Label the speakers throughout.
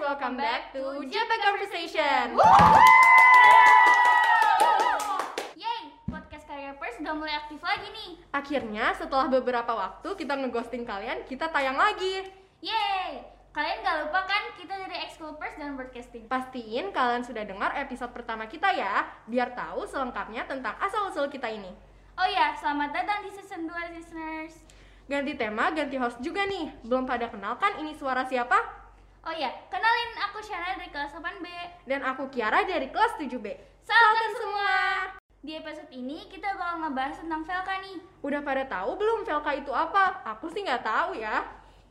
Speaker 1: welcome back to JP Conversation.
Speaker 2: Yeay, podcast Career First udah mulai aktif lagi nih.
Speaker 1: Akhirnya setelah beberapa waktu kita ngeghosting kalian, kita tayang lagi.
Speaker 2: Yeay, kalian gak lupa kan kita dari Exco First dan Broadcasting.
Speaker 1: Pastiin kalian sudah dengar episode pertama kita ya, biar tahu selengkapnya tentang asal-usul kita ini.
Speaker 2: Oh ya, selamat datang di season 2 listeners.
Speaker 1: Ganti tema, ganti host juga nih. Belum pada kenal kan ini suara siapa?
Speaker 2: Oh ya, kenalin aku Syara dari kelas 8B.
Speaker 1: Dan aku Kiara dari kelas 7B.
Speaker 2: Salam semua. Di episode ini kita bakal ngebahas tentang Velka nih.
Speaker 1: Udah pada tahu belum Velka itu apa? Aku sih nggak tahu ya.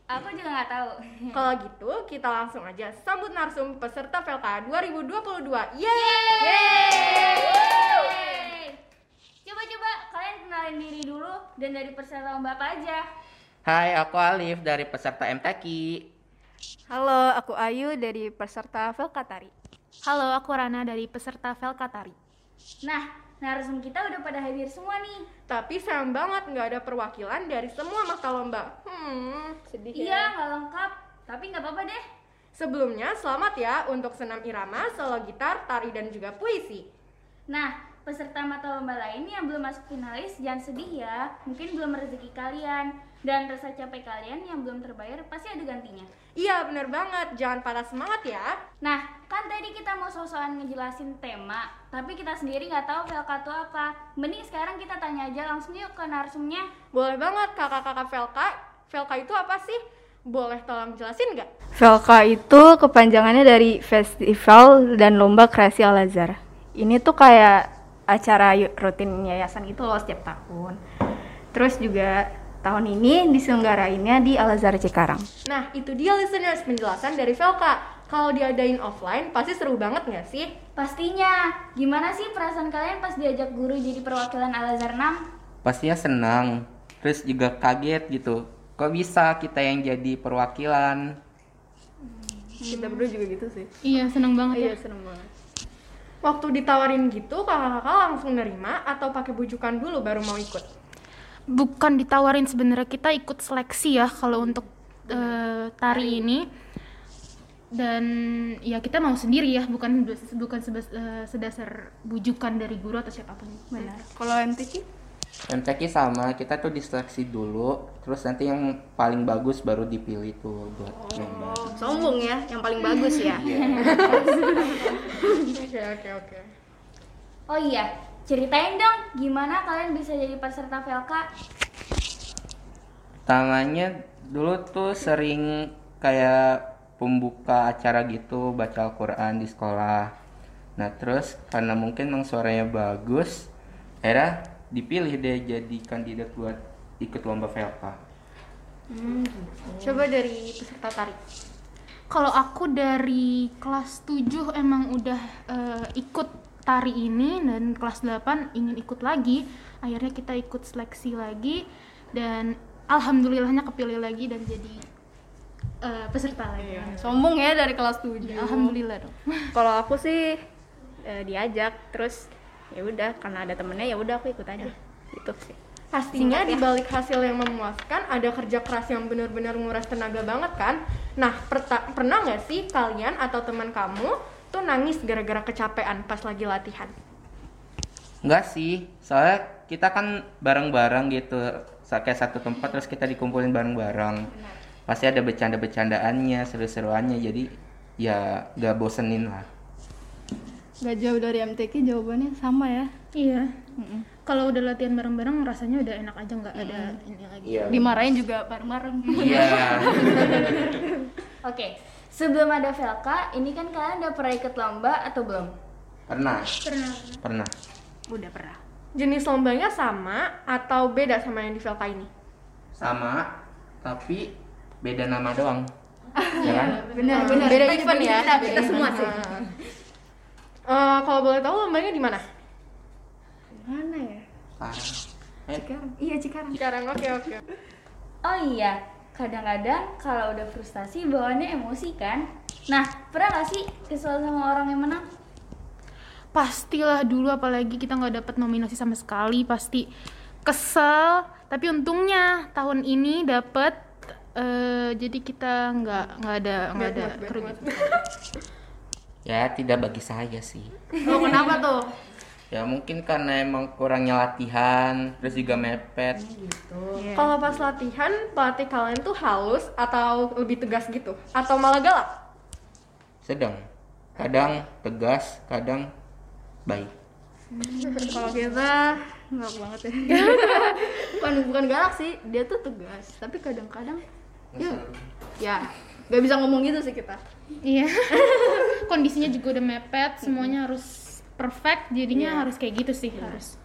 Speaker 2: Aku juga nggak tahu.
Speaker 1: Kalau gitu, kita langsung aja sambut narsum peserta Velka 2022. Yeay!
Speaker 2: Yeay! Coba-coba kalian kenalin diri dulu dan dari peserta lomba apa aja.
Speaker 3: Hai, aku Alif dari peserta MTQ.
Speaker 4: Halo, aku Ayu dari peserta Velkatari.
Speaker 5: Halo, aku Rana dari peserta Velkatari.
Speaker 2: Nah, narasum kita udah pada hadir semua nih.
Speaker 1: Tapi sayang banget nggak ada perwakilan dari semua mata lomba. Hmm.
Speaker 4: Sedih
Speaker 2: Iya, nggak lengkap. Tapi nggak apa-apa deh.
Speaker 1: Sebelumnya, selamat ya untuk senam irama, solo gitar, tari, dan juga puisi.
Speaker 2: Nah, peserta mata lomba lain yang belum masuk finalis jangan sedih ya. Mungkin belum rezeki kalian dan rasa capek kalian yang belum terbayar pasti ada gantinya.
Speaker 1: Iya, bener banget. Jangan patah semangat ya.
Speaker 2: Nah, kan tadi kita mau sosokan ngejelasin tema, tapi kita sendiri nggak tahu VLK itu apa. Mending sekarang kita tanya aja langsung yuk ke narsumnya.
Speaker 1: Boleh banget kakak-kakak Velka. Velka itu apa sih? Boleh tolong jelasin nggak?
Speaker 4: Velka itu kepanjangannya dari Festival dan Lomba Kreasi Al Azhar. Ini tuh kayak acara yu- rutin yayasan gitu loh setiap tahun. Terus juga tahun ini diselenggarainnya di Al Azhar Cikarang.
Speaker 1: Nah, itu dia listeners penjelasan dari Velka. Kalau diadain offline, pasti seru banget nggak sih?
Speaker 2: Pastinya, gimana sih perasaan kalian pas diajak guru jadi perwakilan Al-Azhar 6?
Speaker 3: Pastinya senang, terus juga kaget gitu. Kok bisa kita yang jadi perwakilan?
Speaker 4: Kita berdua juga gitu sih.
Speaker 5: Iya, seneng banget ya.
Speaker 4: seneng banget.
Speaker 1: Waktu ditawarin gitu, kakak-kakak langsung nerima atau pakai bujukan dulu baru mau ikut?
Speaker 5: Bukan ditawarin sebenarnya kita ikut seleksi ya kalau untuk eh, tari ini. Dan ya kita mau sendiri ya, bukan bukan sebes- eh, sedasar bujukan dari guru atau siapapun.
Speaker 4: Benar. Kalau MTQ?
Speaker 3: MTQ sama, kita tuh diseleksi dulu, terus nanti yang paling bagus baru dipilih tuh buat Iya. lomba.
Speaker 4: Sombong ya, yang paling bagus ya.
Speaker 1: Oke, oke, oke.
Speaker 2: Oh iya, ceritain dong gimana kalian bisa jadi peserta VLK?
Speaker 3: Tangannya dulu tuh sering kayak pembuka acara gitu, baca Al-Quran di sekolah. Nah terus karena mungkin emang suaranya bagus, era dipilih deh jadi kandidat buat ikut lomba Velka.
Speaker 1: Coba dari peserta tarik.
Speaker 5: Kalau aku dari kelas 7 emang udah eh, ikut tari ini dan kelas 8 ingin ikut lagi. Akhirnya kita ikut seleksi lagi dan alhamdulillahnya kepilih lagi dan jadi eh, peserta lagi.
Speaker 4: Sombong ya dari kelas 7.
Speaker 5: Alhamdulillah dong.
Speaker 4: kalau aku sih eh, diajak terus ya udah karena ada temennya ya udah aku ikut aja gitu sih
Speaker 1: Pastinya di balik hasil yang memuaskan ada kerja keras yang benar-benar nguras tenaga banget kan? Nah, perta- pernah nggak sih kalian atau teman kamu tuh nangis gara-gara kecapean pas lagi latihan?
Speaker 3: Enggak sih, soalnya kita kan bareng-bareng gitu, sa- kayak satu tempat terus kita dikumpulin bareng-bareng. Pasti ada bercanda-bercandaannya, seru-seruannya, jadi ya gak bosenin lah.
Speaker 6: Gak jauh dari MTQ jawabannya sama ya.
Speaker 5: Iya. Kalau udah latihan bareng-bareng rasanya udah enak aja nggak ada ini lagi.
Speaker 6: Dimarahin juga bareng-bareng.
Speaker 3: Iya.
Speaker 2: Oke, sebelum ada VLK, ini kan kalian udah pernah ikut lomba atau belum?
Speaker 3: Pernah.
Speaker 5: Pernah.
Speaker 3: Pernah.
Speaker 4: udah pernah
Speaker 1: Jenis lombanya sama atau beda sama yang di Velka ini?
Speaker 3: Sama, tapi beda nama doang. ya kan?
Speaker 4: benar
Speaker 1: Hmm,
Speaker 4: benar
Speaker 1: beda event Ah. ya. Kita, semua sih. Eh, kalau boleh tahu lombanya di mana?
Speaker 4: mana ya
Speaker 3: Parah. Eh,
Speaker 4: Cikarang iya Cikarang
Speaker 1: Sekarang oke oke.
Speaker 2: Oh iya, kadang-kadang kalau udah frustasi bawaannya emosi kan? Nah, pernah gak sih kesel sama orang yang menang?
Speaker 5: pastilah dulu apalagi kita nggak dapat nominasi sama sekali pasti kesel tapi untungnya tahun ini dapat eh, jadi kita nggak nggak ada nggak ada
Speaker 1: Bad mood, bad
Speaker 5: kerugian.
Speaker 1: mood.
Speaker 3: Ya tidak bagi saya sih.
Speaker 4: Oh, kenapa tuh?
Speaker 3: Ya mungkin karena emang kurangnya latihan, terus juga mepet.
Speaker 1: Kalau pas latihan, pelatih kalian tuh halus atau lebih tegas gitu? Atau malah galak?
Speaker 3: Sedang. Kadang tegas, kadang baik.
Speaker 6: kalau kita nggak banget ya bukan bukan galak sih dia tuh tegas tapi kadang-kadang ya ya nggak bisa ngomong gitu sih kita
Speaker 5: Iya. Kondisinya juga udah mepet, semuanya harus perfect,
Speaker 1: Iya.
Speaker 5: jadinya harus kayak gitu sih harus.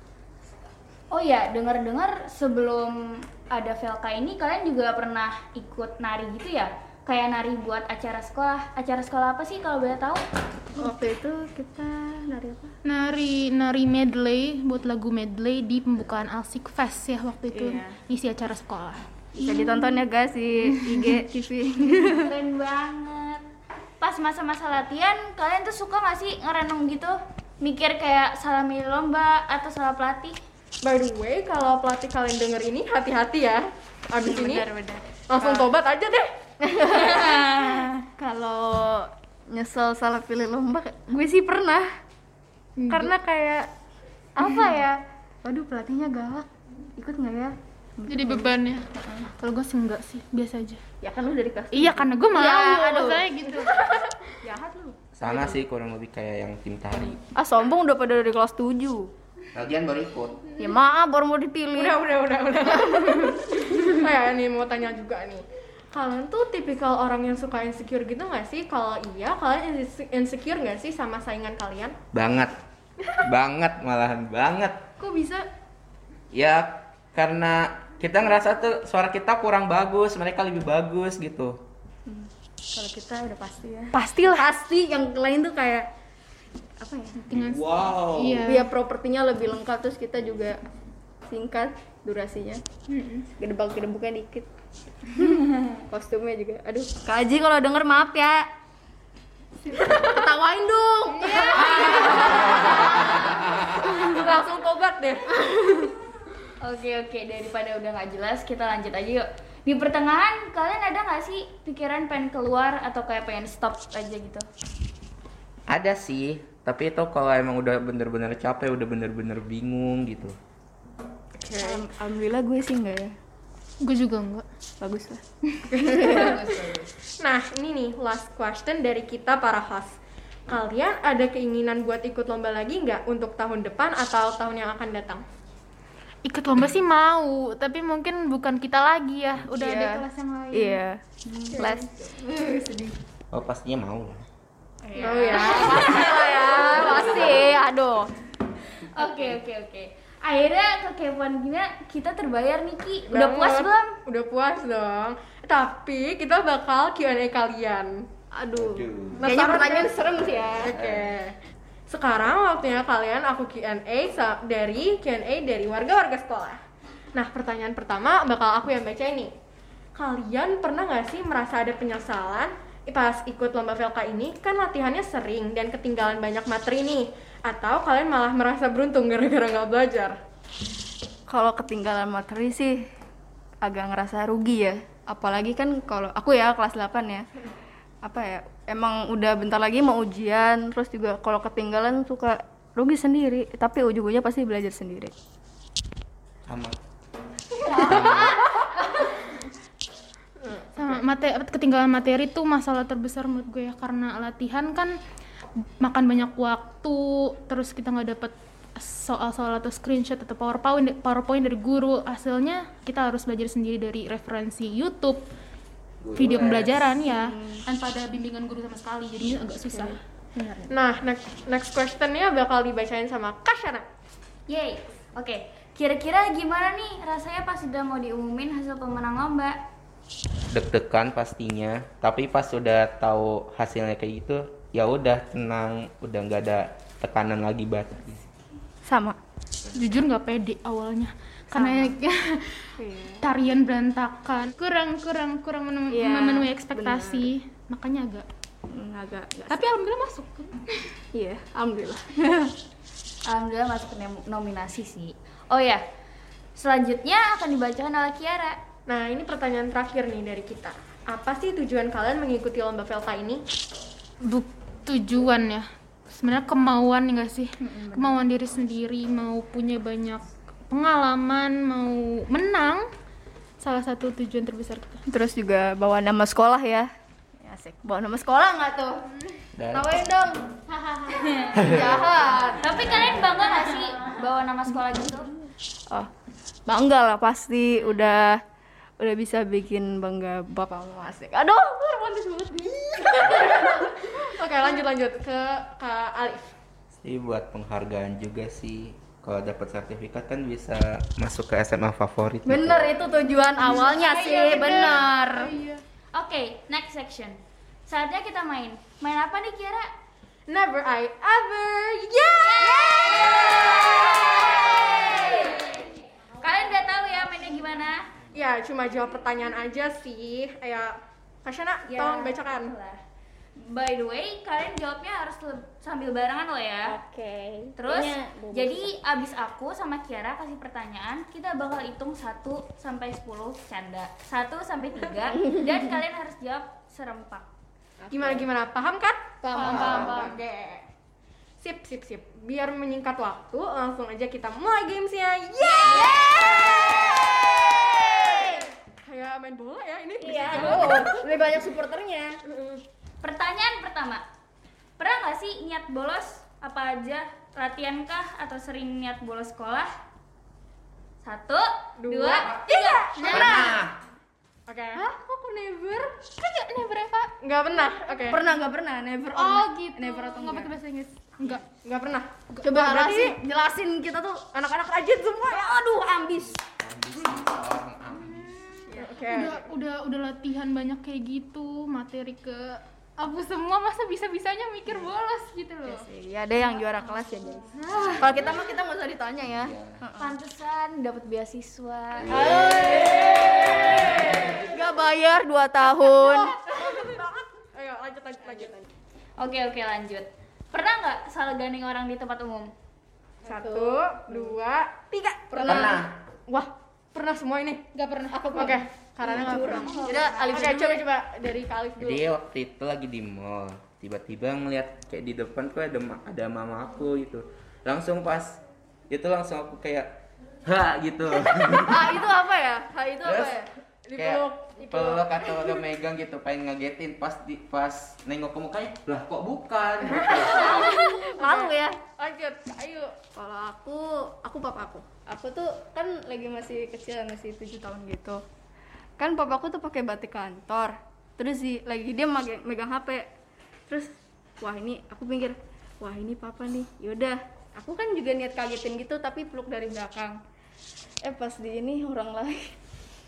Speaker 2: Oh ya, dengar-dengar sebelum ada Velka ini kalian juga pernah ikut nari gitu ya? Kayak nari buat acara sekolah. Acara sekolah apa sih kalau boleh tahu?
Speaker 6: waktu itu kita dari apa
Speaker 5: Nari nari medley buat lagu medley di pembukaan Alsik Fest ya waktu itu
Speaker 1: Iya.
Speaker 5: isi acara sekolah.
Speaker 4: Bisa ditonton ya guys di IG TV.
Speaker 2: Keren banget. Pas masa-masa latihan, kalian tuh suka nggak sih ngerenung gitu? Mikir kayak salah milih lomba atau salah pelatih?
Speaker 1: By the way, kalau pelatih kalian denger ini, hati-hati ya. Abis ini,
Speaker 4: benar.
Speaker 1: langsung tobat aja deh.
Speaker 4: Nah, Kalau nyesel salah pilih lomba, gue sih pernah.
Speaker 6: Iya.
Speaker 4: Karena kayak apa ya? Waduh pelatihnya galak. Ikut nggak ya?
Speaker 5: Jadi ya? bebannya. Kalau gue sih enggak sih, biasa aja.
Speaker 4: Ya kan lu dari kelas.
Speaker 5: Iya karena gue mau,
Speaker 4: Iya, aduh.
Speaker 5: masalahnya gitu.
Speaker 3: Sama sih kurang lebih kayak yang tim tari.
Speaker 4: Ah sombong udah pada dari kelas 7
Speaker 3: Lagian baru ikut.
Speaker 4: Ya maaf baru mau dipilih.
Speaker 1: Udah, udah, udah, udah. oh ya, nih mau tanya juga nih. Kalian tuh tipikal orang yang suka insecure gitu nggak sih? Kalau iya, kalian inse- insecure nggak sih sama saingan kalian?
Speaker 3: Banget. banget malahan banget.
Speaker 1: Kok bisa?
Speaker 3: Ya karena kita ngerasa tuh suara kita kurang bagus, mereka lebih bagus gitu.
Speaker 6: kalau kita udah pasti ya
Speaker 4: Pastilah.
Speaker 6: pasti yang lain tuh kayak apa ya
Speaker 3: Wow.
Speaker 5: Iya.
Speaker 6: biar propertinya lebih lengkap terus kita juga singkat durasinya gedebak gedebuknya dikit kostumnya juga aduh
Speaker 4: Kak Aji kalau denger maaf ya.
Speaker 6: ketawain dong
Speaker 1: Iya. Langsung tobat deh.
Speaker 2: Oke oke, daripada udah nggak jelas, kita lanjut aja yuk. Di pertengahan, kalian ada nggak sih pikiran pengen keluar atau kayak pengen stop aja gitu?
Speaker 3: Ada sih, tapi itu kalau emang udah bener-bener capek, udah bener-bener bingung gitu.
Speaker 4: Alham- Alhamdulillah gue sih enggak ya.
Speaker 5: Gue juga enggak.
Speaker 4: Bagus lah.
Speaker 1: Nah, ini nih last question dari kita para host. Kalian ada keinginan buat ikut lomba lagi nggak untuk tahun depan atau tahun yang akan datang?
Speaker 5: Ikut lomba sih mau, tapi mungkin bukan kita lagi ya. Udah ada kelas yang lain.
Speaker 4: Iya. Kelas
Speaker 3: Oh pastinya mau lah.
Speaker 1: Oh ya.
Speaker 4: Ah, pasti. Aduh.
Speaker 2: Oke oke oke. Akhirnya kekepoan gini kita terbayar nih Ki. Udah
Speaker 1: Banget.
Speaker 2: puas belum?
Speaker 1: Udah puas dong. Tapi kita bakal Q&A kalian.
Speaker 4: Aduh.
Speaker 1: Kayaknya pertanyaan serem sih ya. Nah, Oke. Sekarang waktunya kalian aku Q&A sa- dari Q&A dari warga-warga sekolah. Nah, pertanyaan pertama bakal aku yang baca ini. Kalian pernah nggak sih merasa ada penyesalan pas ikut lomba Velka ini? Kan latihannya sering dan ketinggalan banyak materi nih. Atau kalian malah merasa beruntung gara-gara nggak belajar?
Speaker 4: Kalau ketinggalan materi sih agak ngerasa rugi ya. Apalagi kan kalau aku ya kelas 8 ya. Apa ya? Emang udah bentar lagi mau ujian, terus juga kalau ketinggalan suka rugi sendiri, tapi ujung-ujungnya pasti belajar sendiri.
Speaker 3: Sama.
Speaker 5: sama materi ketinggalan materi tuh masalah terbesar menurut gue ya karena latihan kan makan banyak waktu terus kita nggak dapet soal-soal atau screenshot atau powerpoint powerpoint dari guru hasilnya kita harus belajar sendiri dari referensi YouTube video pembelajaran ya tanpa ada bimbingan guru sama sekali jadinya agak susah
Speaker 1: Nah, next, next questionnya bakal dibacain sama Kasyana.
Speaker 2: Yeay. Oke. Kira-kira gimana nih rasanya pas sudah mau diumumin hasil pemenang lomba?
Speaker 3: Deg-degan pastinya, tapi pas udah tahu hasilnya kayak gitu, ya udah tenang, udah nggak ada tekanan lagi banget.
Speaker 4: Sama.
Speaker 5: jujur nggak pede awalnya karena tarian berantakan kurang kurang kurang menem-
Speaker 4: Iya,
Speaker 5: memenuhi ekspektasi makanya agak
Speaker 6: Hmm, agak agak-
Speaker 5: tapi alhamdulillah masuk
Speaker 6: iya alhamdulillah
Speaker 2: Alhamdulillah masuk ke nom- nominasi sih. Oh ya. Selanjutnya akan dibacakan oleh Kiara.
Speaker 1: Nah, ini pertanyaan terakhir nih dari kita. Apa sih tujuan kalian mengikuti lomba Velta ini?
Speaker 5: Bu, tujuan ya. Sebenarnya kemauan enggak sih? Kemauan diri sendiri mau punya banyak pengalaman, mau menang. Salah satu tujuan terbesar kita.
Speaker 4: Terus juga bawa nama sekolah ya. Asik. Bawa nama sekolah nggak tuh?
Speaker 3: Dan
Speaker 6: Tawain dong. Jahat.
Speaker 2: Tapi kalian bangga gak sih bawa nama sekolah gitu?
Speaker 4: Oh, bangga lah pasti udah udah bisa bikin bangga bapak mama asik. Aduh, aku romantis banget nih.
Speaker 1: Oke, lanjut lanjut ke Kak Alif.
Speaker 3: sih buat penghargaan juga sih. Kalau dapat sertifikat kan bisa masuk ke SMA favorit. gitu.
Speaker 4: Bener itu tujuan awalnya sih, bener.
Speaker 2: Oke, next section. Saatnya kita main. Main apa nih Kiara?
Speaker 1: Never I ever. Yeah!
Speaker 2: Kalian udah tahu ya mainnya gimana?
Speaker 1: Ya, cuma jawab pertanyaan aja sih. Ya, Kasyana, tolong bacakan.
Speaker 2: By the way, kalian jawabnya harus le- sambil barengan loh ya.
Speaker 7: Oke.
Speaker 2: Terus,
Speaker 7: Kayaknya gua
Speaker 2: jadi abis aku sama Kiara kasih pertanyaan, kita bakal hitung 1 sampai 10 canda. 1 sampai 3 dan kalian harus jawab serempak.
Speaker 1: Gimana gimana? Paham kan?
Speaker 6: Paham, paham, paham.
Speaker 1: Sip, sip, sip. Biar menyingkat waktu, langsung aja kita mulai gamesnya. Yeay! Kayak main bola ya ini.
Speaker 7: Iya, oh, lebih banyak supporternya.
Speaker 2: Pertanyaan pertama. Pernah nggak sih niat bolos apa aja? Latihan kah atau sering niat bolos sekolah? Satu,
Speaker 1: Dua,
Speaker 2: dua, tiga.
Speaker 1: Oke. Hah? Kok aku never? Kan ya never Eva? Nggak pernah. Oke.
Speaker 6: Pernah nggak pernah? Never. or
Speaker 5: Oh,
Speaker 6: not-
Speaker 5: gitu.
Speaker 6: Never atau
Speaker 5: Enggak pakai
Speaker 6: enggak?
Speaker 5: bahasa Inggris. Enggak.
Speaker 1: Nggak pernah.
Speaker 6: Coba
Speaker 1: Wah, berarti
Speaker 6: jelasin, jelasin kita tuh
Speaker 1: anak-anak rajin semua ya.
Speaker 6: aduh ambis.
Speaker 1: Oke.
Speaker 5: Udah udah udah latihan banyak kayak gitu, materi ke apa semua masa bisa-bisanya mikir bolos gitu loh.
Speaker 4: Iya, ada yang juara kelas ya, guys.
Speaker 6: Kalau kita mah kita nggak usah ditanya ya.
Speaker 2: Nah, Pantesan dapat beasiswa.
Speaker 4: Gak bayar 2 tahun.
Speaker 1: Ayo lanjut lanjut lanjut.
Speaker 2: Oke, oke lanjut. Pernah nggak salah gandeng orang di tempat umum?
Speaker 1: Satu, dua, tiga.
Speaker 3: Pernah.
Speaker 1: Wah, pernah semua ini? Nggak pernah. Aku Oke. Karena nggak pernah. Udah, Alif Oke, coba coba dari Kak Alif dulu.
Speaker 3: Jadi waktu itu lagi di mall, tiba-tiba ngeliat kayak di depan tuh ada ma- ada mama aku gitu. Langsung pas itu langsung aku kayak ha gitu.
Speaker 6: Ah itu apa ya? Ah itu apa
Speaker 3: Terus
Speaker 6: ya?
Speaker 3: kayak
Speaker 1: Dipeluk,
Speaker 3: peluk atau udah megang gitu pengen ngagetin pas di pas nengok ke mukanya lah kok bukan gitu.
Speaker 6: Malu ya.
Speaker 1: Lanjut, ayo.
Speaker 6: Kalau aku, aku papa aku.
Speaker 7: Aku tuh kan lagi masih kecil, masih tujuh tahun gitu.
Speaker 6: Kan papaku tuh pakai batik kantor. Terus di, lagi dia mage- megang HP. Terus wah ini aku pikir, wah ini papa nih. Yaudah, aku kan juga niat kagetin gitu tapi peluk dari belakang. Eh pas di ini orang lain.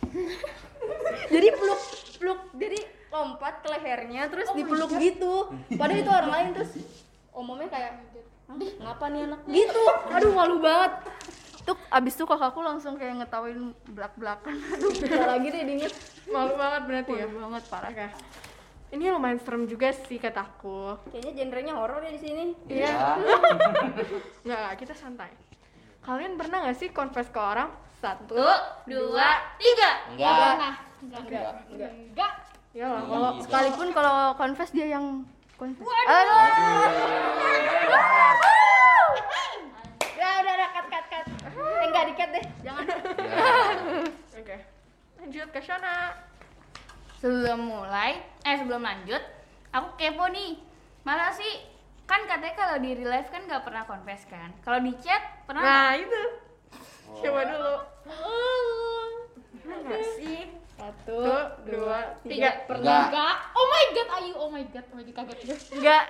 Speaker 6: jadi peluk peluk jadi lompat ke lehernya terus dipeluk gitu. Padahal itu orang lain terus omongnya kayak "Hah, ngapa nih anak gitu aduh malu banget tuh abis itu kakakku langsung kayak ngetawain belak belakan aduh bisa lagi deh ya. diinget
Speaker 1: Malu banget berarti ya.
Speaker 6: malu banget parah
Speaker 1: Oke. Ini lumayan serem juga sih kataku.
Speaker 7: Kayaknya genrenya horor ya di sini.
Speaker 3: Iya.
Speaker 1: Nggak, nggak, kita santai. Kalian pernah nggak sih confess ke orang? Satu.
Speaker 2: Satu, dua, tiga.
Speaker 3: Enggak.
Speaker 5: Enggak.
Speaker 1: Ya lah, kalau
Speaker 6: Iya. sekalipun kalau confess dia yang confess
Speaker 7: Ya udah, udah, cut, cut, cut. Eh, enggak, dikat deh.
Speaker 1: Oke. Lanjut ke sana.
Speaker 2: Sebelum mulai, eh sebelum lanjut, aku kepo nih. Mana sih? Kan katanya kalau di real life kan nggak pernah confess kan? Kalau di chat pernah nggak?
Speaker 1: Nah, itu. Coba dulu. Pernah sih?
Speaker 7: Satu,
Speaker 1: Satu, dua, tiga.
Speaker 3: Enggak.
Speaker 5: Enggak. Oh my god, ayu. Oh my god, oh my god kaget ya.
Speaker 6: enggak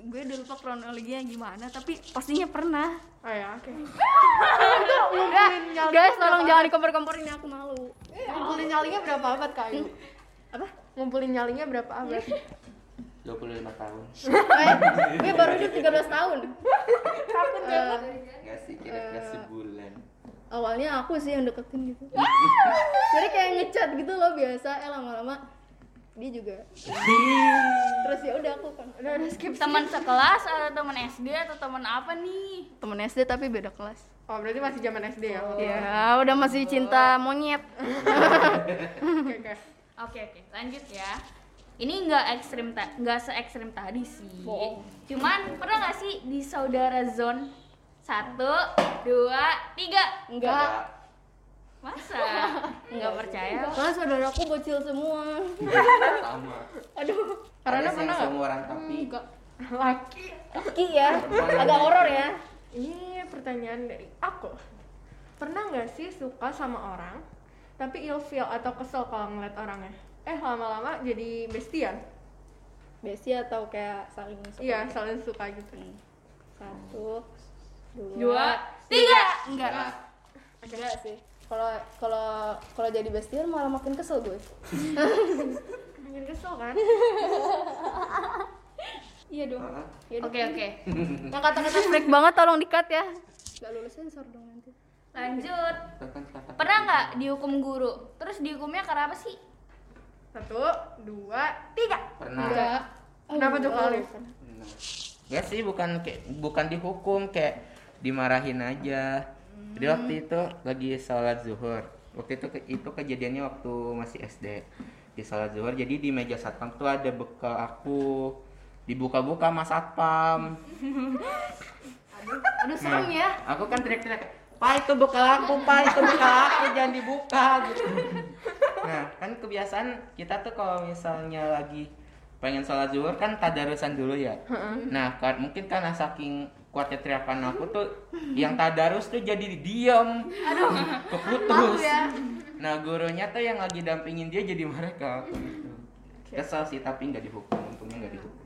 Speaker 6: gue udah lupa kronologinya gimana tapi pastinya pernah
Speaker 1: Oh ya, oke.
Speaker 6: enggak guys tolong jangan dikompor-komporin aku malu Hmm?
Speaker 1: Ngumpulin nyalinya berapa abad, Kak Ayu? Apa? Ngumpulin nyalinya berapa abad?
Speaker 3: 25 tahun.
Speaker 6: Eh,
Speaker 7: Gue baru hidup 13 tahun.
Speaker 3: Enggak sih
Speaker 1: Eh,
Speaker 3: kira-kira sebulan.
Speaker 7: Awalnya aku sih yang deketin gitu. Jadi kayak ngechat gitu loh biasa, eh lama-lama dia juga. Terus ya udah aku kan.
Speaker 1: Udah, udah skip.
Speaker 2: Teman sekelas atau teman SD atau teman apa nih?
Speaker 6: temen SD tapi beda kelas
Speaker 1: Oh, berarti masih zaman SD ya?
Speaker 7: Oh.
Speaker 1: Oke,
Speaker 8: Ya, udah masih cinta monyet.
Speaker 1: oke.
Speaker 2: Oke oke, lanjut ya. Ini nggak ekstrim, ta- nggak se ekstrim tadi sih. Cuman pernah nggak sih di saudara zone satu, dua, tiga?
Speaker 8: Enggak.
Speaker 2: Masa? Nggak percaya?
Speaker 8: Karena saudaraku bocil semua.
Speaker 3: sama
Speaker 8: Aduh,
Speaker 1: Karena
Speaker 3: Ada yang
Speaker 1: pernah nggak?
Speaker 3: seumuran tapi
Speaker 1: Laki.
Speaker 8: laki ya. Agak horor ya.
Speaker 1: Ini pertanyaan dari aku. Pernah nggak sih suka sama orang, tapi ilfeel atau kesel kalau ngeliat orangnya? Eh, lama-lama jadi bestian.
Speaker 6: Besi atau kayak saling suka?
Speaker 1: Iya, saling suka gitu.
Speaker 6: Satu, dua.
Speaker 2: Dua, tiga.
Speaker 8: Enggak.
Speaker 6: Enggak sih. Kalau kalau kalau jadi bestian malah makin kesel gue.
Speaker 1: Mungkin kesel kan?
Speaker 3: Heeh.
Speaker 2: Oke oke,
Speaker 8: Yang kata-kata freak banget tolong dikat ya.
Speaker 6: Gak lulus sensor dong nanti.
Speaker 2: lanjut.
Speaker 3: Tekan kata
Speaker 2: Pernah nggak dihukum guru? Terus dihukumnya karena apa sih?
Speaker 1: Satu, dua, tiga.
Speaker 3: pernah
Speaker 1: Kenapa tuh kali?
Speaker 3: Nah. Nggak sih bukan kayak bukan dihukum kayak dimarahin aja jadi waktu
Speaker 8: Hmm.
Speaker 3: itu lagi sholat zuhur waktu itu ke- itu kejadiannya waktu masih SD di sholat zuhur jadi di meja satpam tuh ada bekal aku dibuka-buka mas satpam
Speaker 8: Aduh, serem
Speaker 3: Nah,
Speaker 8: ya.
Speaker 3: aku kan teriak-teriak pak itu bekal aku pak itu bekal aku jangan dibuka gitu nah kan kebiasaan kita tuh kalau misalnya lagi pengen sholat zuhur kan tadarusan dulu ya nah kan mungkin karena saking kuatnya teriakan aku tuh yang tadarus tuh jadi diam aduh keputus nah gurunya tuh yang lagi dampingin dia jadi mereka kesal sih tapi nggak dihukum untungnya nggak dihukum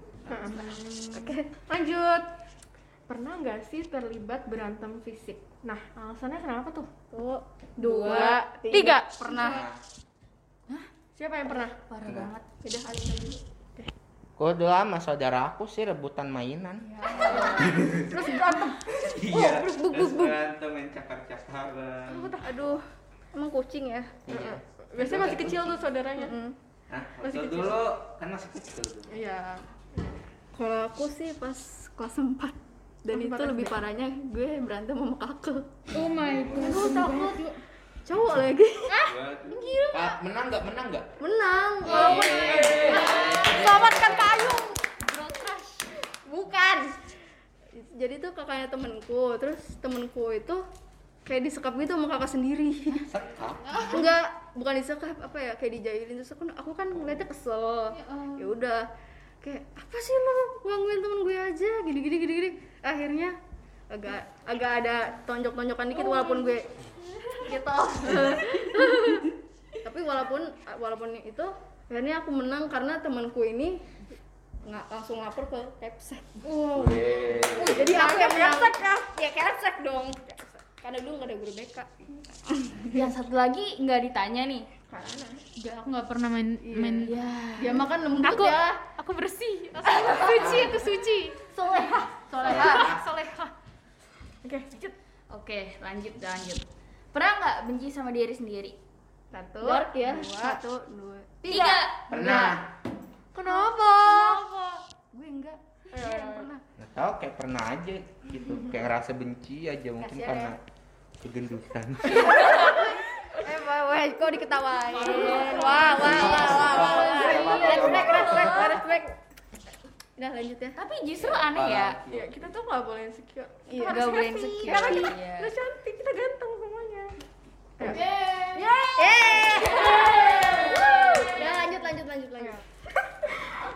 Speaker 1: Lanjut. Pernah nggak sih terlibat berantem fisik? Nah, alasannya kenapa tuh?
Speaker 6: Satu,
Speaker 1: Dua,
Speaker 7: Iya.
Speaker 8: Tiga. Pernah.
Speaker 3: nah,
Speaker 1: Siapa yang pernah?
Speaker 2: Parah
Speaker 3: Enggak.
Speaker 2: banget.
Speaker 3: Kalau dulu sama saudara aku sih rebutan mainan. Ya. Terus berantem. Iya. Terus berantem main cakar-cakaran.
Speaker 8: Aduh, emang kucing ya.
Speaker 3: Iya.
Speaker 1: Biasanya masih kecil tuh saudaranya.
Speaker 6: Iya.
Speaker 7: Hmm.
Speaker 3: Nah, waktu dulu kan masih kecil. dulu.
Speaker 1: Iya.
Speaker 6: Kalau aku sih pas kelas 4 dan itu lebih parahnya gue berantem sama kakek.
Speaker 5: Oh my god. Aku takut.
Speaker 6: Cowok lagi.
Speaker 3: Waduh. Pak, menang nggak? Menang nggak? Iya.
Speaker 6: Menang. Iya.
Speaker 8: Selamatkan payung. Bukan.
Speaker 6: Jadi tuh kakaknya temenku, terus temenku itu kayak disekap gitu sama kakak sendiri.
Speaker 3: Sekap.
Speaker 6: enggak bukan disekap apa ya kayak dijailin terus aku aku kan ngeliatnya kesel ya udah kayak apa sih lu gangguin temen gue aja gini gini gini gini akhirnya agak agak ada tonjok tonjokan dikit walaupun gue gitu tapi walaupun walaupun itu akhirnya aku menang karena temanku ini nggak langsung lapor ke website jadi aku yang menang ya website dong karena dulu nggak ada guru BK
Speaker 2: Yang satu lagi nggak ditanya nih.
Speaker 5: Enggak, aku nggak pernah main main.
Speaker 6: dia makan lembut
Speaker 5: Aku
Speaker 6: ya
Speaker 5: aku bersih. Aku suci, aku suci.
Speaker 8: Soleha.
Speaker 5: Soleha, soleha.
Speaker 1: Oke, lanjut.
Speaker 2: Oke, lanjut lanjut. Pernah nggak benci sama diri sendiri?
Speaker 1: Satu,
Speaker 6: Dark ya.
Speaker 1: dua,
Speaker 6: Satu, dua.
Speaker 2: Tiga.
Speaker 3: Pernah.
Speaker 1: Kenapa?
Speaker 6: Gue enggak.
Speaker 3: Nggak tahu kayak pernah aja gitu.
Speaker 7: Hmm.
Speaker 3: Kayak ngerasa benci aja mungkin karena
Speaker 7: ya.
Speaker 3: kegendutan.
Speaker 8: Eh, wah, wah, kok diketawain. Wah, wah, wah, wah, wah. Respect, respect, respect.
Speaker 6: Udah lanjut ya.
Speaker 2: Tapi justru aneh ya.
Speaker 7: Iya.
Speaker 1: Ya, kita tuh nggak boleh insecure.
Speaker 8: Iya,
Speaker 1: Harus
Speaker 8: nggak boleh
Speaker 1: happy.
Speaker 8: insecure,
Speaker 1: Karena kita,
Speaker 2: iya.
Speaker 1: kita cantik, kita ganteng semuanya.
Speaker 6: Udah lanjut lanjut lanjut lanjut.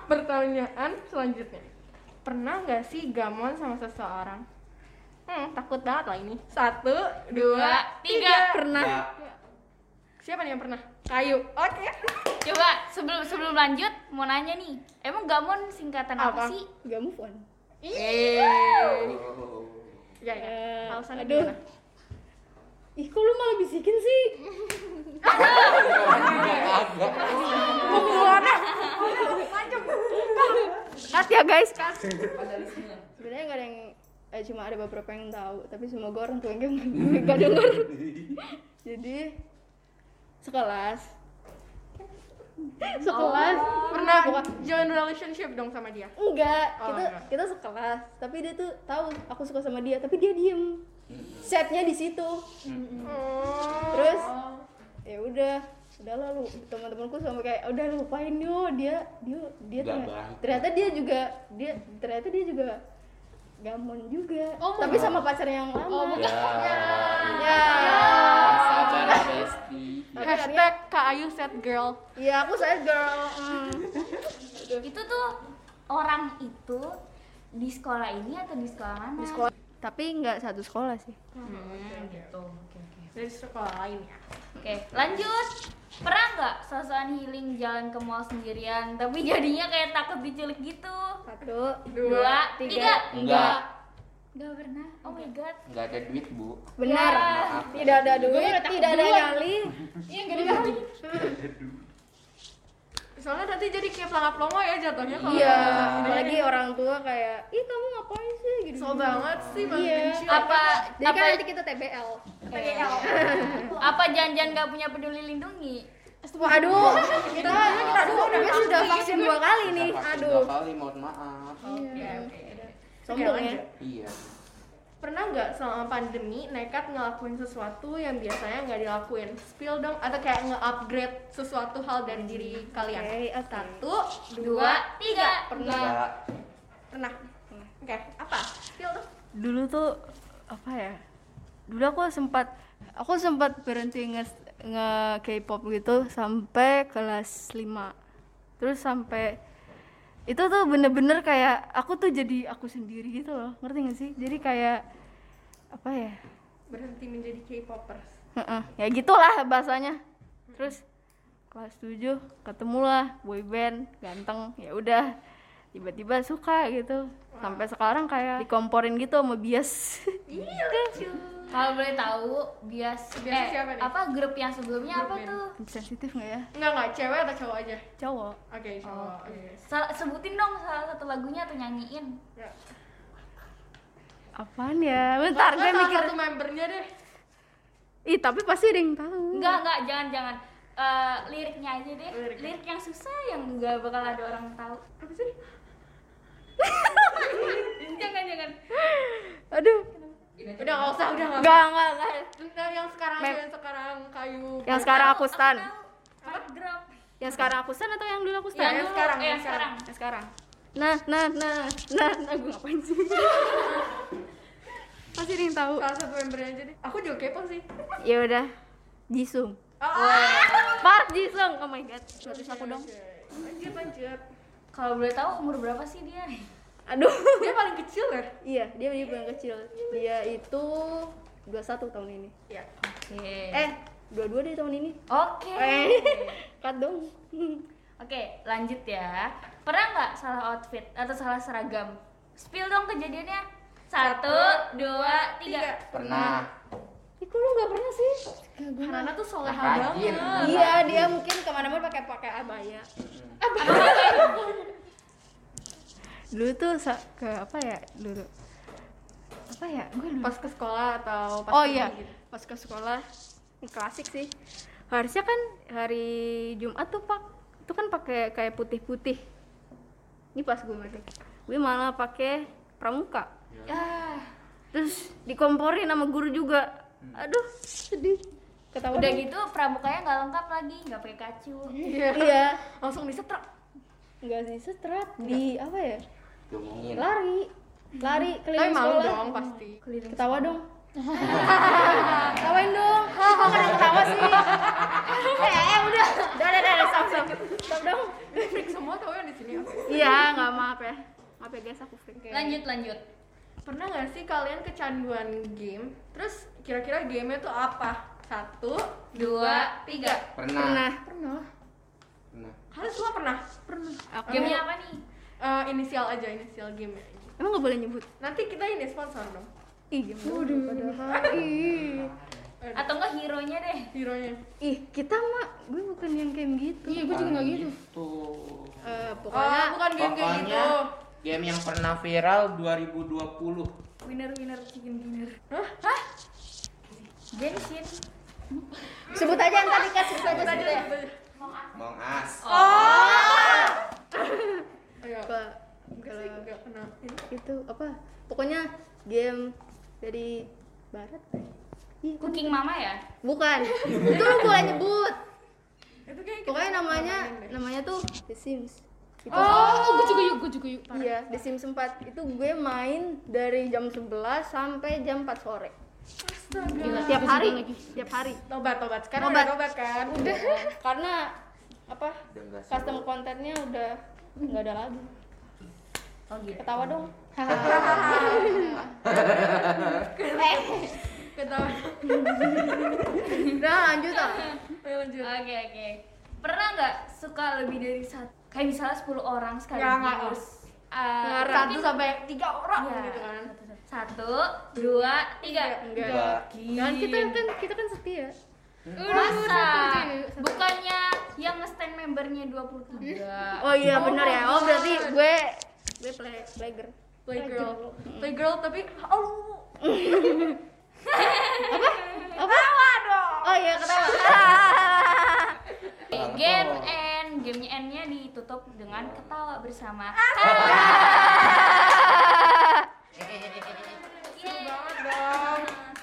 Speaker 1: Pertanyaan selanjutnya. Pernah nggak sih gamon sama seseorang? Hmm, takut banget lah ini. Satu,
Speaker 2: Dua,
Speaker 1: dua,
Speaker 2: tiga.
Speaker 6: Pernah.
Speaker 3: Nggak.
Speaker 1: Siapa nih yang pernah? Kayu. Oke.
Speaker 2: Coba sebelum sebelum lanjut mau nanya nih. Emang gamon singkatan apa,
Speaker 1: Apa?
Speaker 2: sih?
Speaker 6: Gak move on.
Speaker 3: Oh.
Speaker 6: Iya,
Speaker 1: Ya, ya. Alasannya
Speaker 6: aduh.
Speaker 1: gimana?
Speaker 6: Ih, kok lu malah bisikin sih?
Speaker 3: Agak.
Speaker 8: Kas ya, guys, kas.
Speaker 6: Sebenarnya gak ada yang eh, cuma ada beberapa yang tahu, tapi semoga orang tua yang gak denger. Jadi sekelas sekelas
Speaker 1: Pernah join relationship dong sama dia?
Speaker 6: enggak
Speaker 1: Oh,
Speaker 6: kita
Speaker 1: enggak.
Speaker 6: kita sekelas tapi dia tuh tahu aku suka sama dia tapi dia diem
Speaker 7: setnya di situ
Speaker 1: Oh.
Speaker 7: terus ya udah udah lalu teman-temanku sama kayak udah lupain yo dia dia dia
Speaker 3: Nggak
Speaker 7: ternyata,
Speaker 3: baik.
Speaker 7: ternyata dia juga dia ternyata dia juga gamon juga
Speaker 5: Oh,
Speaker 7: tapi sama pacarnya yang
Speaker 1: Oh
Speaker 7: lama
Speaker 3: Ya.
Speaker 7: ya
Speaker 3: Sabar Besti.
Speaker 7: Iya,
Speaker 1: Hashtag Kak Ayu set girl.
Speaker 7: ya aku saya girl
Speaker 1: Hmm.
Speaker 7: mm.
Speaker 2: itu tuh orang itu di sekolah ini atau di sekolah mana? Di sekolah
Speaker 6: Tapi nggak satu sekolah sih.
Speaker 2: gitu. Oke, oke.
Speaker 1: Dari sekolah lain ya.
Speaker 2: Oke, lanjut. Pernah nggak sosokan healing jalan ke mall sendirian tapi jadinya kayak takut diculik gitu?
Speaker 7: satu
Speaker 2: Dua, tiga.
Speaker 3: Enggak,
Speaker 2: Nggak pernah. Oh my god. Ya.
Speaker 3: enggak ada duit, Bu.
Speaker 7: benar
Speaker 3: Maaf.
Speaker 7: tidak ada duit tidak ada nyali
Speaker 1: Hmm. Soalnya nanti jadi kayak pelangap longo ya jatuhnya kalau
Speaker 7: iya apalagi orang tua kayak ih kamu ngapain sih gitu
Speaker 1: so banget sih Bang
Speaker 7: Iya.
Speaker 1: Benci.
Speaker 2: Apa
Speaker 7: jadi
Speaker 2: apa
Speaker 7: kan nanti kita TBL
Speaker 2: apa janjian nggak punya peduli lindungi?
Speaker 7: aduh kita kita udah sudah vaksin dua kali nih
Speaker 3: Kita vaksin
Speaker 7: aduh Oh.
Speaker 3: Dua kali, mohon maaf.
Speaker 2: Hmm.
Speaker 7: sombong ya
Speaker 3: Iya.
Speaker 1: Pernah nggak selama pandemi nekat ngelakuin sesuatu yang biasanya nggak dilakuin? Spill dong atau kayak nge-upgrade sesuatu hal dari diri kalian. Satu, dua,
Speaker 2: Dua, tiga.
Speaker 7: Nah.
Speaker 3: Enggak.
Speaker 1: pernah. Oke, apa? Spill dong.
Speaker 6: Dulu tuh apa ya? Dulu aku sempat aku sempat berhenti nge, nge K-pop gitu sampai kelas 5. Terus sampai itu tuh bener-bener kayak aku tuh jadi aku sendiri gitu loh. Ngerti gak sih? Jadi kayak apa ya?
Speaker 1: Berhenti menjadi K-popers.
Speaker 6: Heeh, ya gitulah bahasanya terus kelas 7 ketemulah boyband ganteng ya udah tiba-tiba suka gitu sampai sekarang kayak dikomporin gitu sama bias
Speaker 2: Kalau boleh tahu bias,
Speaker 1: Biasa
Speaker 2: eh,
Speaker 1: siapa nih?
Speaker 2: apa grup yang sebelumnya apa tuh?
Speaker 6: sensitif nggak ya
Speaker 1: Enggak, enggak, cewek atau cowok aja?
Speaker 6: cowok
Speaker 1: Oke, cowok. Oke.
Speaker 2: Sal- sebutin dong salah satu lagunya atau nyanyiin.
Speaker 1: Ya.
Speaker 6: apaan ya bentar
Speaker 1: Lo
Speaker 6: gue
Speaker 1: salah
Speaker 6: mikir
Speaker 1: satu membernya deh.
Speaker 6: ih tapi pasti ada yang tahu
Speaker 2: Enggak, enggak, jangan, jangan. Eh, Oh, liriknya aja deh. Lirik. yang susah yang enggak bakal ada orang tahu. Apa sih? jangan, jangan.
Speaker 6: aduh
Speaker 1: Udah nggak usah, udah nggak.
Speaker 6: nggak nggak nggak
Speaker 1: Nah, yang sekarang aja, yang sekarang kayu.
Speaker 6: yang sekarang aku stan
Speaker 2: Apa? Drop.
Speaker 6: yang sekarang aku stan atau yang dulu aku stan
Speaker 1: Iya, yang sekarang,
Speaker 2: eh,
Speaker 1: yang
Speaker 2: yang sekarang.
Speaker 6: yang sekarang nah nah nah nah nah gue ngapain sih pasti ada yang tahu
Speaker 1: Salah satu membernya aja deh. Aku juga kepo sih.
Speaker 6: ya udah Jisung
Speaker 1: Oh,
Speaker 6: Park Jisung oh my god terus aku dong
Speaker 1: Lanjut, lanjut.
Speaker 2: Kalau boleh tahu umur berapa sih dia?
Speaker 7: aduh
Speaker 1: Dia paling kecil ya?
Speaker 7: iya dia dia paling kecil dia itu 21 tahun ini
Speaker 1: Iya.
Speaker 2: Oke.
Speaker 7: eh 22 deh tahun ini
Speaker 2: Oke.
Speaker 7: eh cut dong
Speaker 2: Oke, lanjut ya. Pernah nggak salah outfit atau salah seragam? Spill dong kejadiannya. Satu, dua, tiga.
Speaker 3: Pernah.
Speaker 7: Ih, kok lu nggak pernah sih
Speaker 1: Karena tuh soleh
Speaker 3: Rajin.
Speaker 7: iya dia mungkin kemana-mana pakai pakai abaya
Speaker 6: dulu tuh sa- ke apa ya dulu apa ya gue lupa
Speaker 1: pas ke sekolah atau Hmm. pas
Speaker 6: oh
Speaker 1: pergi
Speaker 6: iya
Speaker 1: gitu.
Speaker 6: pas ke sekolah ini klasik sih harusnya kan hari Jumat tuh pak itu kan pakai kayak putih-putih ini pas gue masuk gue malah pakai pramuka
Speaker 2: Ah,
Speaker 6: terus dikomporin sama guru juga aduh sedih ketawa
Speaker 2: udah gitu pramukanya nggak lengkap lagi, nggak pakai kacu.
Speaker 7: iya
Speaker 1: Langsung disetrap.
Speaker 7: nggak sih setrap di
Speaker 6: Iya.
Speaker 7: apa ya
Speaker 3: Diomongin.
Speaker 7: lari lari
Speaker 1: Tapi
Speaker 7: keliling
Speaker 1: malu
Speaker 7: sekolah
Speaker 1: dong pasti.
Speaker 7: ketawa dong ketawain dong hahaha kenapa ketawa sih eh eh, udah udah udah udah stop stop stop dong
Speaker 1: Freak semua tau yang di sini. oke.
Speaker 6: iya nggak maaf ya maaf ya guys aku freak
Speaker 2: Lanjut, lanjut.
Speaker 1: Pernah nggak sih kalian kecanduan game? Terus kira-kira gamenya tuh apa? Satu,
Speaker 2: Dua, tiga.
Speaker 3: Pernah.
Speaker 6: Pernah.
Speaker 1: pernah.
Speaker 3: Pernah.
Speaker 1: Kalian semua pernah? Pernah.
Speaker 2: Gamenya apa nih?
Speaker 1: Eh, inisial aja, inisial game.
Speaker 6: emang nggak boleh nyebut
Speaker 1: Nanti kita ini sponsor dong.
Speaker 6: ih
Speaker 2: Atau enggak hero-nya deh?
Speaker 1: Hero-nya.
Speaker 6: ih kita mah gue bukan yang kayak gitu
Speaker 7: iya Eh, gue juga nggak gitu
Speaker 3: Tuh.
Speaker 1: Pokoknya bukan game kayak
Speaker 3: Pokoknya
Speaker 1: gitu.
Speaker 3: game yang pernah viral 2020.
Speaker 2: Winner, winner, chicken dinner.
Speaker 1: Hah?
Speaker 2: Hah? Genshin.
Speaker 7: sebut aja yang tadi kan sebut aja sebut aja
Speaker 3: Among Us.
Speaker 1: Ayo.
Speaker 7: apa
Speaker 1: Enggak sih, enggak pernah.
Speaker 7: itu apa pokoknya game dari barat kan? Ih, kok-
Speaker 2: Cooking Mama ya?
Speaker 7: bukan itu lu boleh nyebut pokoknya namanya namanya tuh The Sims Itu-
Speaker 5: Oh, gue juga yuk, gue juga yuk. parah.
Speaker 7: Iya, The Sims 4 itu gue main dari jam 11 sampai jam 4 sore. tiap hari, tiap hari.
Speaker 1: Tobat, tobat. Sekarang
Speaker 7: Tobat.
Speaker 1: udah tobat kan?
Speaker 7: Udah karena apa?
Speaker 3: Udah nggak seru.
Speaker 7: Custom kontennya udah nggak ada lagi.
Speaker 2: Oh gitu.
Speaker 7: Ketawa dong.
Speaker 1: Eh. Ketawa.
Speaker 7: Udah lanjut ah.
Speaker 1: Ayo lanjut.
Speaker 2: Oke oke. Pernah nggak suka lebih dari satu? Kayak misalnya 10 orang sekaligus.
Speaker 1: Nggak, Ya, nggak.
Speaker 2: Eh,
Speaker 1: Satu sampai tiga orang
Speaker 2: Iya.
Speaker 1: gitu kan.
Speaker 2: Satu, dua, tiga.
Speaker 3: Enggak.
Speaker 7: Kan
Speaker 5: Iya,
Speaker 7: kita kan kita kan setia.
Speaker 2: Masa? Bukannya yang nge-stand membernya 23.
Speaker 7: Oh iya benar ya. Oh berarti gue gue play playgirl.
Speaker 1: Playgirl.
Speaker 2: Mm.
Speaker 1: Playgirl tapi oh
Speaker 7: Oh iya ketawa.
Speaker 2: Eh, Game end, gamenya endnya ditutup dengan ketawa bersama.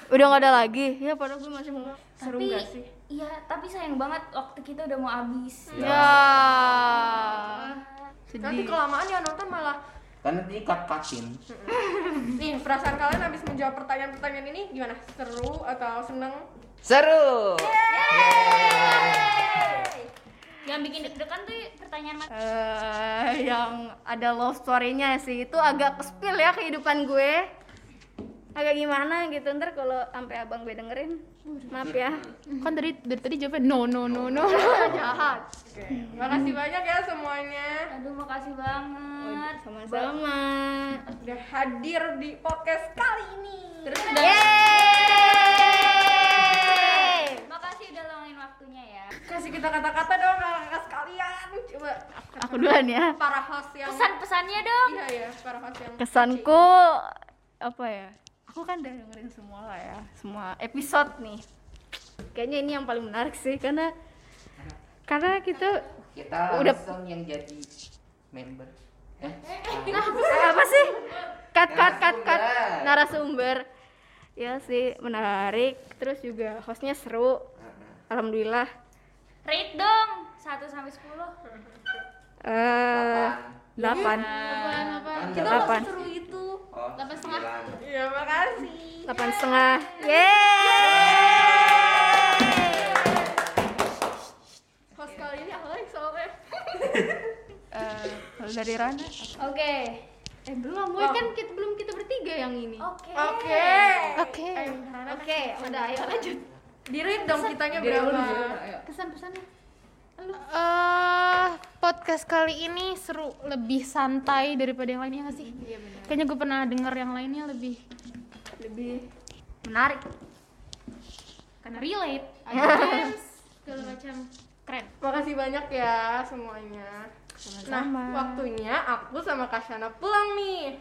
Speaker 6: Udah nggak ada lagi. Ya
Speaker 7: Iya,
Speaker 6: padahal gue masih mau.
Speaker 1: Seru
Speaker 2: tapi,
Speaker 1: nggak sih?
Speaker 2: Iya, tapi sayang banget waktu kita udah mau habis.
Speaker 6: Ya.
Speaker 7: Ah.
Speaker 1: nanti kelamaan yang nonton malah
Speaker 3: Karena Kan nanti cut-cutin.
Speaker 1: nih perasaan kalian habis menjawab pertanyaan-pertanyaan ini gimana? Seru atau seneng?
Speaker 3: Seru.
Speaker 2: Yang bikin deg-degan tuh pertanyaan mas-
Speaker 6: Eh, yang ada love story-nya sih itu agak kespil ya kehidupan gue agak gimana gitu ntar kalau sampai abang gue dengerin maaf ya
Speaker 5: Kan dari dari tadi jawabnya no no no no.
Speaker 6: jahat
Speaker 1: Oke. Makasih banyak ya semuanya
Speaker 2: Aduh, makasih banget.
Speaker 6: sama-sama
Speaker 1: udah hadir di podcast kali ini.
Speaker 6: Yeay!
Speaker 2: Makasih udah luangin waktunya ya.
Speaker 1: Kasih kita kata-kata dong kakak sekalian. Coba
Speaker 6: aku duluan ya
Speaker 1: para host yang
Speaker 2: Pesan-pesannya dong.
Speaker 1: Iya ya, para host yang
Speaker 6: kesanku apa ya aku kan udah dengerin semua lah ya semua episode nih kayaknya ini yang paling menarik sih karena karena kita
Speaker 3: Kita
Speaker 6: Udah.
Speaker 3: langsung yang jadi member. Eh,
Speaker 6: Eh, apa sih? Cut, cut, cut, cut.
Speaker 3: Narasumber.
Speaker 6: Narasumber. Ya sih, menarik. Terus juga hostnya seru. Alhamdulillah.
Speaker 2: Rate dong 1 sampai 10.
Speaker 6: Eh, delapan.
Speaker 3: Kita
Speaker 6: Delapan.
Speaker 3: Oh, Delapan setengah.
Speaker 1: Iya, makasih.
Speaker 6: Delapan setengah. Yeay!
Speaker 1: Host kali ini aku lagi soalnya.
Speaker 6: Eh, Kalau dari Rana?
Speaker 2: Oke.
Speaker 7: Eh belum, gue kan kita belum kita bertiga yang ini.
Speaker 2: Oke.
Speaker 1: Oke.
Speaker 7: Oke. Oke, udah ayo lanjut.
Speaker 1: Dirit dong kitanya berapa?
Speaker 7: Kesan-pesannya.
Speaker 5: Eh, podcast kali ini seru, lebih santai daripada yang lainnya nggak sih? Iya benar. Kayaknya gue pernah denger yang lainnya lebih
Speaker 7: Lebih
Speaker 2: Menarik.
Speaker 5: karena relate, ada games, segala macam keren.
Speaker 1: Makasih banyak ya semuanya. Nah, waktunya aku sama Kasyana pulang nih.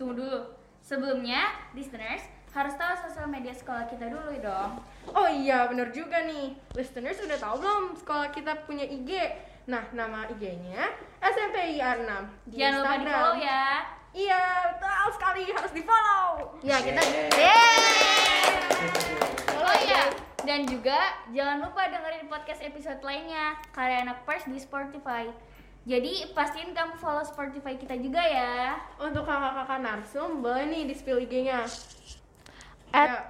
Speaker 2: Tunggu dulu. Sebelumnya, listeners harus tahu sosial media sekolah kita dulu dong.
Speaker 1: Oh iya, bener juga nih. Listeners udah tahu belum sekolah kita punya IG? Nah, nama IG-nya SMPI 6
Speaker 2: Jangan lupa di follow ya.
Speaker 1: Iya, betul sekali harus di-follow.
Speaker 6: Ya, kita
Speaker 2: Oh iya. Dan juga jangan lupa dengerin podcast episode lainnya karya anak pers di Spotify. Jadi pastiin kamu follow Spotify kita juga ya.
Speaker 1: Untuk kakak-kakak narsum boleh nih di-spill IG-nya.
Speaker 5: At
Speaker 1: Ya.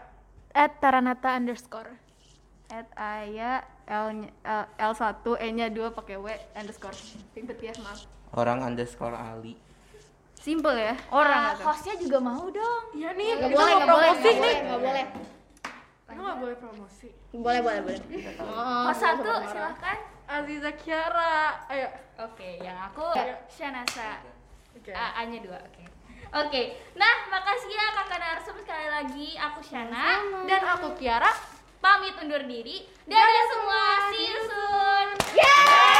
Speaker 5: at Taranata underscore.
Speaker 6: at Aya L L 1 E nya 2 pakai W underscore. Ribet ya, maaf.
Speaker 3: Orang underscore Ali.
Speaker 6: Simple ya. Orang
Speaker 2: Eh, hostnya juga mau dong.
Speaker 1: Iya nih,
Speaker 7: Gak
Speaker 1: kita
Speaker 7: boleh,
Speaker 1: mau
Speaker 7: gak boleh,
Speaker 1: promosi
Speaker 7: gak
Speaker 1: nih.
Speaker 7: boleh, gak boleh.
Speaker 1: Lu gak boleh promosi.
Speaker 7: Boleh, boleh, boleh.
Speaker 2: Host satu silahkan.
Speaker 1: Aziza Kiara, ayo.
Speaker 2: Oke, yang aku Ya. Shanasa.
Speaker 1: Oke.
Speaker 2: A nya dua, oke. Oke, nah makasih ya kakak Narsum sekali lagi. Aku Shana
Speaker 1: Dan aku Kiara.
Speaker 2: pamit undur diri. Dadah semua, see you soon.
Speaker 6: Yeay!